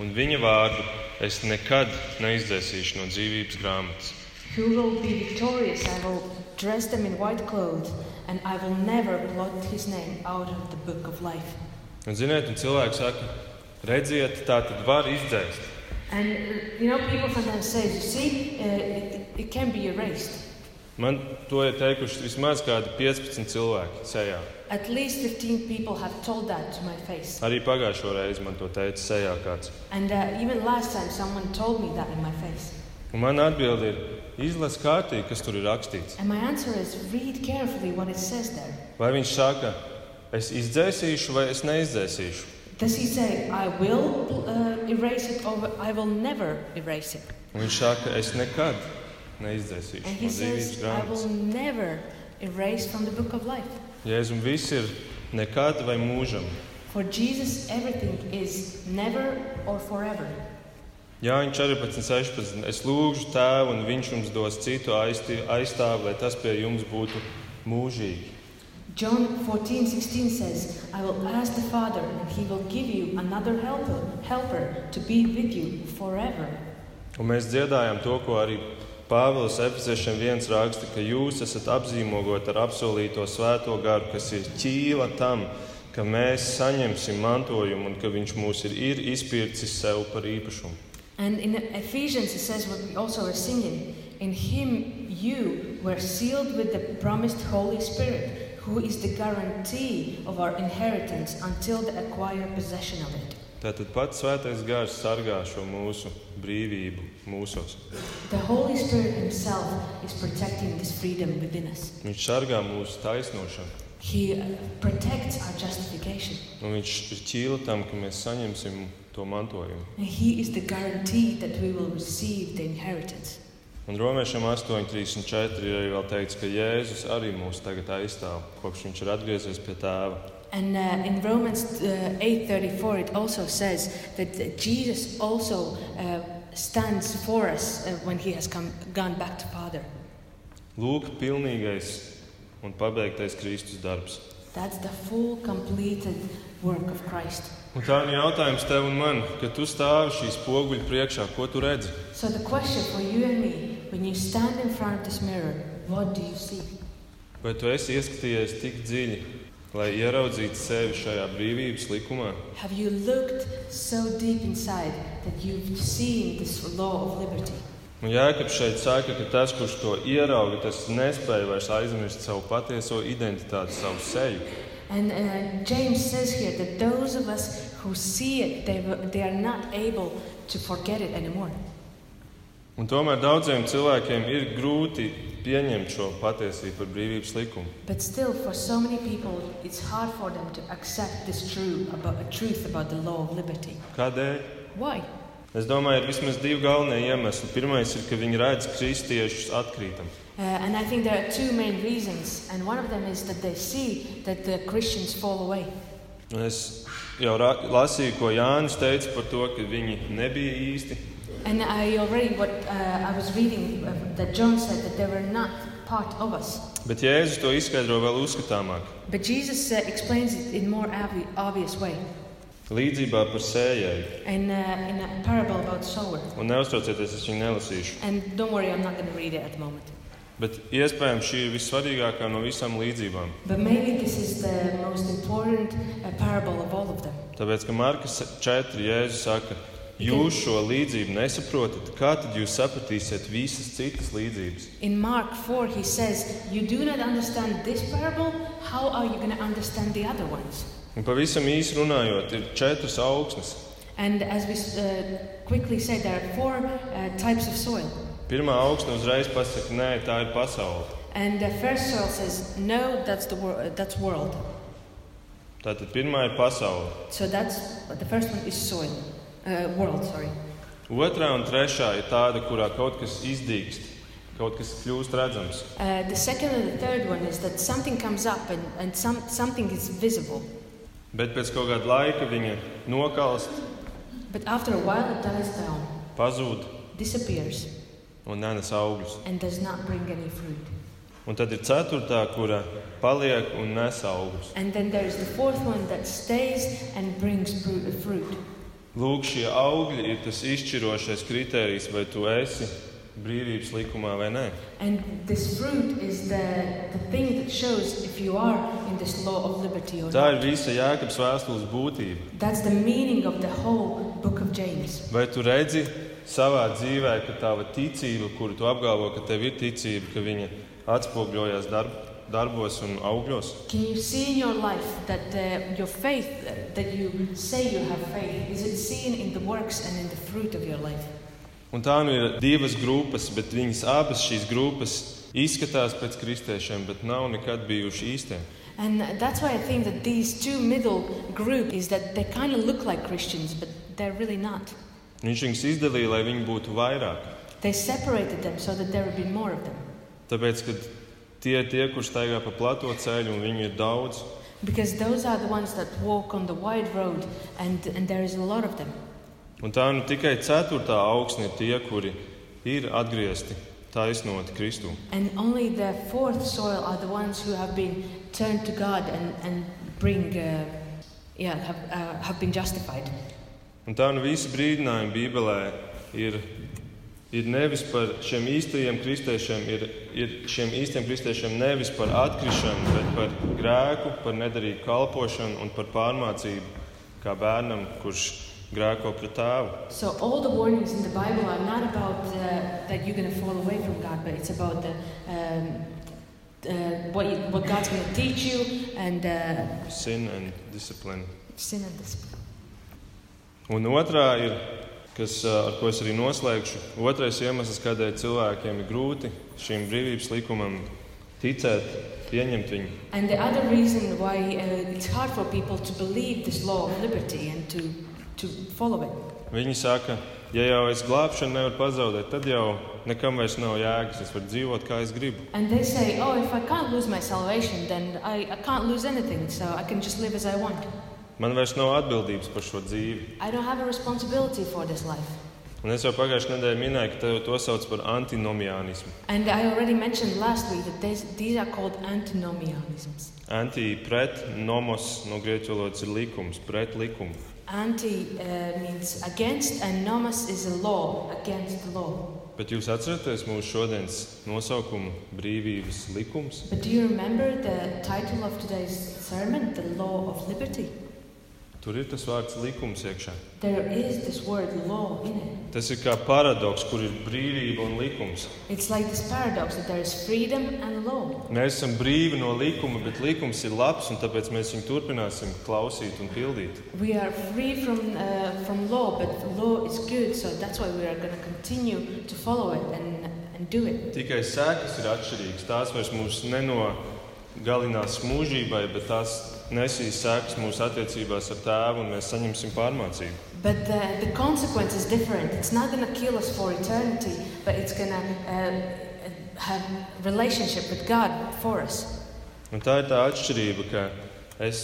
un viņa vārdu es nekad neizdzēsīšu no dzīvības grāmatas.
Who will be victorious? I will dress them in white clothes, and I will never blot his name out of the book of life.
Un, ziniet, un cilvēki saka, redziet, tā tad var izdzēst.
And uh, you know, people sometimes say, you see, uh, it, it can be erased.
Man to ir teikuši vismaz kādi 15 cilvēki sejā.
At least 15 people have told that to my face.
Arī pagājušo reizi man to teica sejā kāds.
And uh, even last time, someone told me that in my face.
Un man atbild ir, izlasi kārtīgi, kas tur ir rakstīts.
And my answer is read carefully what it says there.
Vai viņš saka, es izdzēsīšu, vai es neizdzēsīšu?
Does he say, I will uh, erase it or I will never erase it?
Un viņš saka, es nekad
And
neizdzēsīšu
he
no dzīvības
says, I will
grāmatas.
never erase from the book of life.
Jēzus viss ir nekad vai mūžam.
For Jesus, everything is never or forever.
Jāņa 14, 16. Es lūgšu tēvu, un viņš jums dos citu aizti- aizstāvu, lai tas pie jums būtu mūžīgi.
John 14, 16 says, I will ask the Father, and he will give you another helper, helper to be with you forever.
Un mēs dziedājām to, ko arī Pāvils Efeziešiem viens raksta, ka jūs esat apzīmogot ar apsolīto svēto garu, kas ir ķīla tam, ka mēs saņemsim mantojumu un ka viņš mūs ir, ir izpircis sev par īpašumu.
And in Ephesians, it says what we also are singing In him you were sealed with the promised Holy Spirit, who is the guarantee of our inheritance until the acquired possession of it.
Tātad pats svētais gars sargā šo mūsu brīvību mūsos.
The Holy Spirit himself is protecting this freedom within us,
Viņš sargā mūsu taisnošanu,
he uh, protects our justification.
un viņš ir ķīla tam, ka mēs saņemsim to mantojumu.
And he is the guarantee that we will receive the inheritance.
Un romiešiem 8,34 ir arī vēl teikts, ka Jēzus arī mūs tagad aizstāv, kopš viņš ir atgriezies pie tēva.
And uh, in Romans uh, 8:34 it also says that uh, Jesus also uh, stands for us uh, when he has come gone back to Father.
Lūk, pilnīgais un pabeigtais Kristus darbs.
That's the full completed work of Christ.
Un tā ir jautājums tev un man, kad tu stāvi šīs poguļu priekšā, ko tu redzi?
So the question for you and me when you stand in front of this mirror, what do you see?
Vai tu esi ieskatījies tik dziļi, lai ieraudzītu sevi šajā brīvības likumā?
Have you looked so deep inside that you've seen this law of liberty?
Un Jēkabs šeit saka, ka tas, kurš to ierauga, tas nespēja vairs aizmirst savu patieso identitāti, savu seju.
And uh, James says here that those of us who see it, they, w- they are not able to forget it anymore.
Un tomēr daudziem cilvēkiem ir grūti pieņemt šo patiesību par brīvības likumu.
But still, for so many people, it's hard for them to accept this true about, truth about the law of liberty.
Kādēļ?
Why?
Es domāju, ir vismaz divi galvenie iemesli. Pirmais ir, ka viņi redz kristiešus atkrītam.
Uh, and I think there are two main reasons, and one of them is that they see that the Christians fall away.
Un Es jau ra- lasīju, ko Jānis teica par to, ka viņi nebija īsti.
And I already, what uh, I was reading, uh, that John said that they were not part of us.
Bet Jēzus to izskaidro vēl uzskatāmāk.
But Jesus uh, explains it in more obvi- obvious way.
Līdzībā par sējēju.
And uh, in a parable about sower.
Un neuztraucieties, es viņu nelasīšu.
And don't worry, I'm not going to read it at the moment.
Bet iespējams šī ir vissvarīgākā no visām līdzībām.
But maybe this is the most important uh, parable of all of them.
Tāpēc, ka Marka 4. Jēzus saka, jūs šo līdzību nesaprotat, kā tad jūs sapratīsiet visas citas līdzības?
In Mark 4, he says, You do not understand this parable, how are you going to understand the other ones?
Un pavisam īsi runājot, ir četras augsnes.
And as we uh, quickly said, there are four uh, types of soil.
Pirmā augsne uzreiz pasakā, nē, tā ir pasaule.
And the first soil says, no, that's the wor- uh, that's world.
Tātad pirmā ir pasaule.
So that's but the first one is soil, uh, world. Sorry.
Otrā un trešā ir tāda, kurā kaut kas izdīkst, kaut kas kļūst redzams.
Uh, the second and the third one is that something comes up and, and some, something is visible.
Bet pēc kaut kāda laika viņa nokalst,
But after a while, it dies down,
pazūd
disappears,
un nenes augļus.
and does not bring any fruit.
Un tad ir ceturtā, kura paliek un nes augļus.
And then there is the fourth one that stays and brings bru- fruit.
Lūk, šie augļi ir tas izšķirošais kriterijs, vai tu esi brīvības likumā vai nē.
And this fruit is the, the thing that shows if you are in this law of liberty or
Tā
not.
ir visa Jēkabs vēstules būtība.
That's the meaning of the whole book of James.
Vai tu redzi savā dzīvē, ka tava ticība, kuru tu apgalvo, ka tev ir ticība, ka viņa atspoguļojas darb, darbos un augļos?
Can you see in your life that uh, your faith, uh, that you say you have faith, is it seen in the works and in the fruit of your life?
Un tā nu ir divas grupas, bet viņas abas šīs grupas izskatās pēc kristiešiem, bet nav nekad bijuši īstie.
And that's why I think that these two middle group is that they kind of look like Christians, but they're really not.
Viņš viņus izdalīja, lai viņi būtu vairāk.
They separated them so that there would be more of them.
Tāpēc, kad tie ir tie, kurš staigā pa plato ceļu, un viņu ir daudz,
Because those are the ones that walk on the wide road, and, and there is a lot of them.
un tā nu tikai ceturtā augsne ir tie, kuri ir atgriezti taisnoti Kristū.
And only the fourth soil are the ones who have been turned to God and, and bring, uh, yeah, have, uh, have been justified.
Un tā nu visi brīdinājumi Bībelē ir, ir nevis par šiem īstajiem kristiešiem, ir, ir šiem īstiem kristiešiem nevis par atkrišanu, bet par grēku, par nedarīgu kalpošanu un par pārmācību kā bērnam, kurš grēko pret tēvu.
So all the warnings in the Bible are not about uh, that you're going to fall away from God, but it's about the, um, uh, what, you, what God's going to teach you and uh,
Sin and discipline.
sin and discipline.
Un otrā ir, kas, uh, ar ko es arī noslēgšu, otrais iemesls, kādēļ cilvēkiem ir grūti šim brīvības likumam ticēt, pieņemt viņu.
And the other reason why uh, it's hard for people to believe this law of liberty and to, to follow it.
Viņi saka, ja jau es glābšanu nevaru pazaudēt, tad jau nekam vairs nav jēgas. Es varu dzīvot, kā es gribu.
And they say, oh, if I can't lose my salvation, then I, I can't lose anything, so I can just live as I want.
Man vairs nav atbildības par šo dzīvi.
I don't have a responsibility for this life.
Un es jau pagājušajā nedēļā minēju, ka te- to sauc par antinomianismu.
And I already mentioned last week that these, these are called antinomianisms.
Anti pret nomos no grieķu valodas ir likums, pret likumu.
Anti uh, means against, and nomos is a law, against the law.
Bet jūs atceraties mūsu šodienas nosaukumu brīvības likums?
But do you remember the title of today's sermon, The Law of Liberty?
Tur ir tas vārds likums iekšā.
There is this word law in it.
Tas ir kā paradoks, kur ir brīvība un likums.
It's like this paradox that there is freedom and law.
Mēs esam brīvi no likuma, bet likums ir labs, un tāpēc mēs viņu turpināsim klausīt un pildīt.
We are free from, uh, from law, but law is good, so that's why we are going to continue to follow it and, and do it.
Tikai sēklas ir atšķirīgas. Tās vairs mūs nenogalinās mūžībai, bet tās nesīs sēklas mūsu attiecībās ar tēvu, un mēs saņemsim pārmācību.
But the, the consequence is different. It's not going to kill us for eternity, but it's going to uh, have relationship with God for us.
Un tā ir tā atšķirība, ka es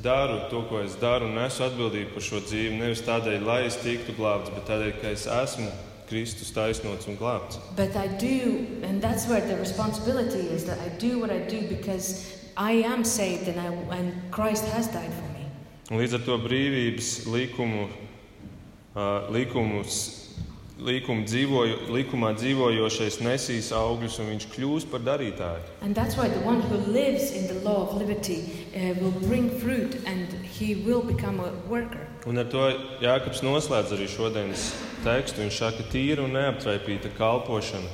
daru to, ko es daru, un nesu atbildību par šo dzīvi. Nevis tādēļ, lai es tiktu glābts, bet tādēļ, ka es esmu Kristus taisnots un glābts.
But I do, and that's where the responsibility is that I do what I do because I am saved and, I, and Christ has died for me.
Un līdz ar to brīvības likumu, ā, likumus, likumu dzīvoju, likumā dzīvojošais nesīs augļus, un viņš kļūs par darītāju.
And that's why the one who lives in the law of liberty uh, will bring fruit and he will become a worker.
Un ar to Jānis noslēdz arī šodienas tekstu. Viņš saka, ka tīra un neaptraipīta kalpošana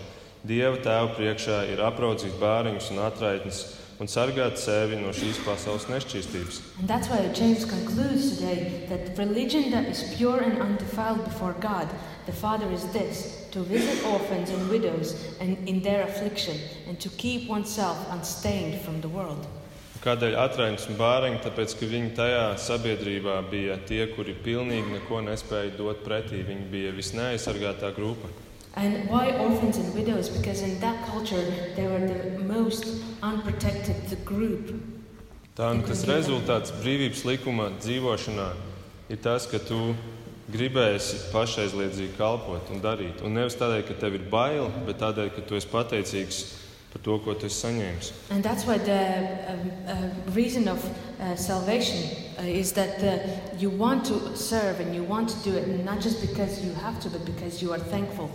Dieva tēva priekšā ir apraudzīt bērniņus un atraitnes un sargāt sevi no šīs pasaules nešķīstības.
And that's why James concludes today that religion that is pure and undefiled before God, the Father, is this to visit orphans and widows and in their affliction, and to keep oneself unstained from the world.
Kādēļ atraitnes un bāriņi? Tāpēc, ka viņi tajā sabiedrībā bija tie, kuri pilnīgi neko nespēja dot pretī. Viņi bija visneaizsargātā grupa.
And why orphans and widows? Because in that culture, they were the most unprotected group.
Tā nu tas rezultāts brīvības likuma dzīvošanā ir tas, ka tu gribēsi pašaizliedzīgi kalpot un darīt. Un nevis tādēļ, ka tev ir bail, bet tādēļ, ka tu esi pateicīgs par to, ko tu esi saņēmis.
And that's why the um, uh, reason of uh, salvation uh, is that uh, you want to serve and you want to do it, and not just because you have to, but because you are thankful.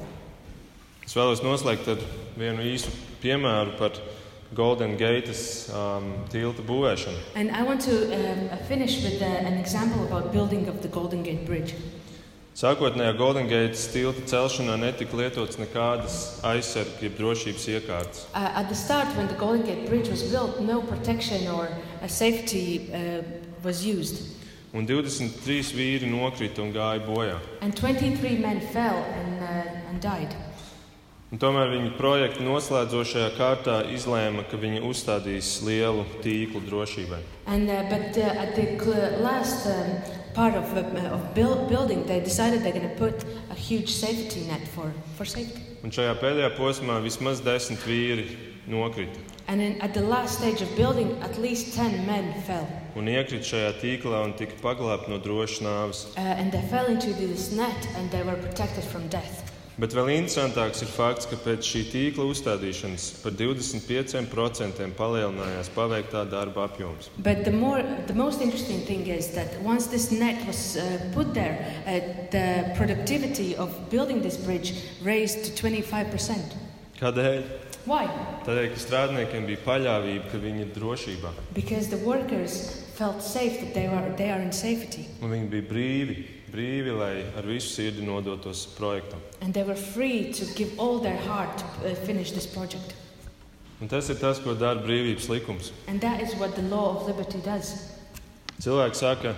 Es vēlos noslēgt ar vienu īsu piemēru par Golden Gates um, tilta būvēšanu.
And I want to um, uh, finish with uh, an example about building of the Golden Gate Bridge.
Sākotnējā Golden Gates tilta celšanā netika lietots nekādas aizsardzības, jeb drošības iekārtas.
Uh, at the start, when the Golden Gate Bridge was built, no protection or uh, safety uh, was used,
Un 23 vīri nokrita un gāja bojā.
and 23 men fell and, uh, and died.
Un tomēr viņa projekta noslēdzošajā kārtā izlēma, ka viņi uzstādīs lielu tīklu drošībai.
And uh, but uh, at the cl- last um, part of, uh, of build- building, they decided they're going to put a huge safety net for, for safety.
Un šajā pēdējā posmā vismaz desmit vīri nokrita
And then at the last stage of building, at least 10 men fell.
un iekrita šajā tīklā un tika paglābti no drošas nāves.
Uh, and they fell into this net and they were protected from death.
Bet vēl interesantāks ir fakts, ka pēc šī tīkla uzstādīšanas par 25% palielinājās paveiktā darba apjoms.
But the, more, the most interesting thing is that once this net was uh, put there, uh, the productivity of building this bridge raised to 25%.
Kādēļ?
Why?
Tādēļ, ka strādniekiem bija paļāvība, ka viņi ir drošībā
Because the workers felt safe that they, were, they are in safety.
un viņi bija brīvi, brīvi, lai ar visu sirdi nodotos projektam.
And they were free to give all their heart to uh, finish this project.
Un tas ir tas, ko dara brīvības likums.
And that is what the law of liberty does.
Cilvēki saka,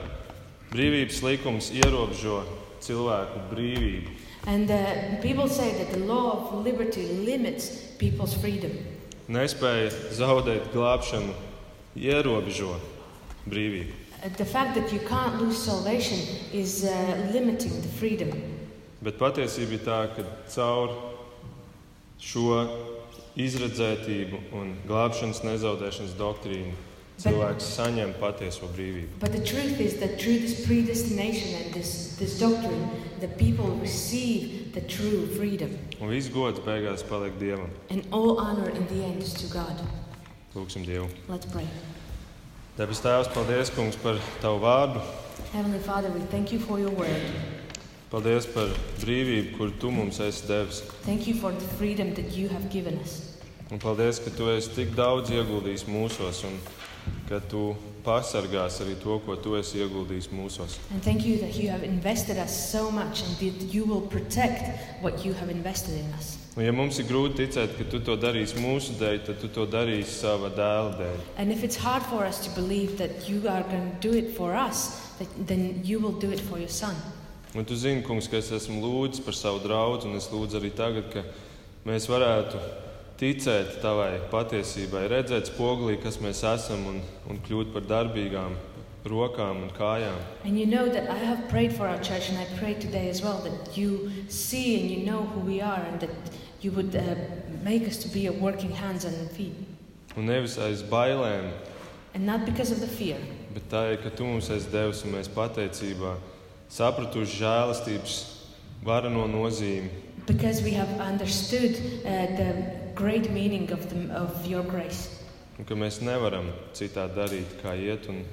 brīvības likums ierobežo cilvēku brīvību,
And uh, people say that the law of liberty limits people's freedom.
nespēja zaudēt glābšanu, ierobežo brīvību.
Uh, the fact that you can't lose salvation is uh, limiting the freedom.
Bet patiesība ir tā, ka caur šo izredzētību un glābšanas nezaudēšanas doktrīnu cilvēks saņem patieso brīvību.
But the truth is that through this predestination and this, this doctrine, the people receive the true freedom.
Un viss gods beigās paliek Dievam.
And all honor in the end is to God.
Lūksim Dievu.
Let's pray.
Debes Tēvs, paldies, Kungs, par Tavu vārdu.
Heavenly Father, we thank you for your word.
Paldies par brīvību, kur Tu mums esi devis.
Thank you for the freedom that you have given us.
Un paldies, ka Tu esi tik daudz ieguldījis mūsos un ka Tu pasargās arī to, ko Tu esi ieguldījis mūsos.
And thank you that you have invested us so much and that you will protect what you have invested in us.
Un ja mums ir grūti ticēt, ka Tu to darīsi mūsu dēļ, tad Tu to darīsi sava dēla dēļ.
And if it's hard for us to believe that you are going to do it for us, that, then you will do it for your son.
Un Tu zini, kungs, ka es esmu lūdzis par savu draugu, un es lūdzu arī tagad, ka mēs varētu ticēt Tavai patiesībai, redzēt spogulī, kas mēs esam, un, un kļūt par darbīgām rokām un kājām.
And you know that I have prayed for our church and I pray today as well that you see and you know who we are and that you would uh, make us to be a working hands and feet.
Un nevis aiz bailēm,
And not because of the fear,
bet tā ir, ka tu mums esi devis un mēs pateicībā sapratuši žēlastības varu no nozīmi.
because we have understood uh, the great meaning of, the, of your grace.
Un ka mēs nevaram citādi darīt, kā iet un,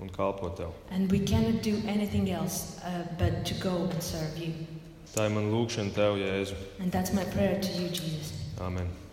un kalpot tev.
And we cannot do anything else uh, but to go and serve you.
Tā ir mana lūkšana tev, Jēzu.
And that's my prayer to you, Jesus.
Āmen!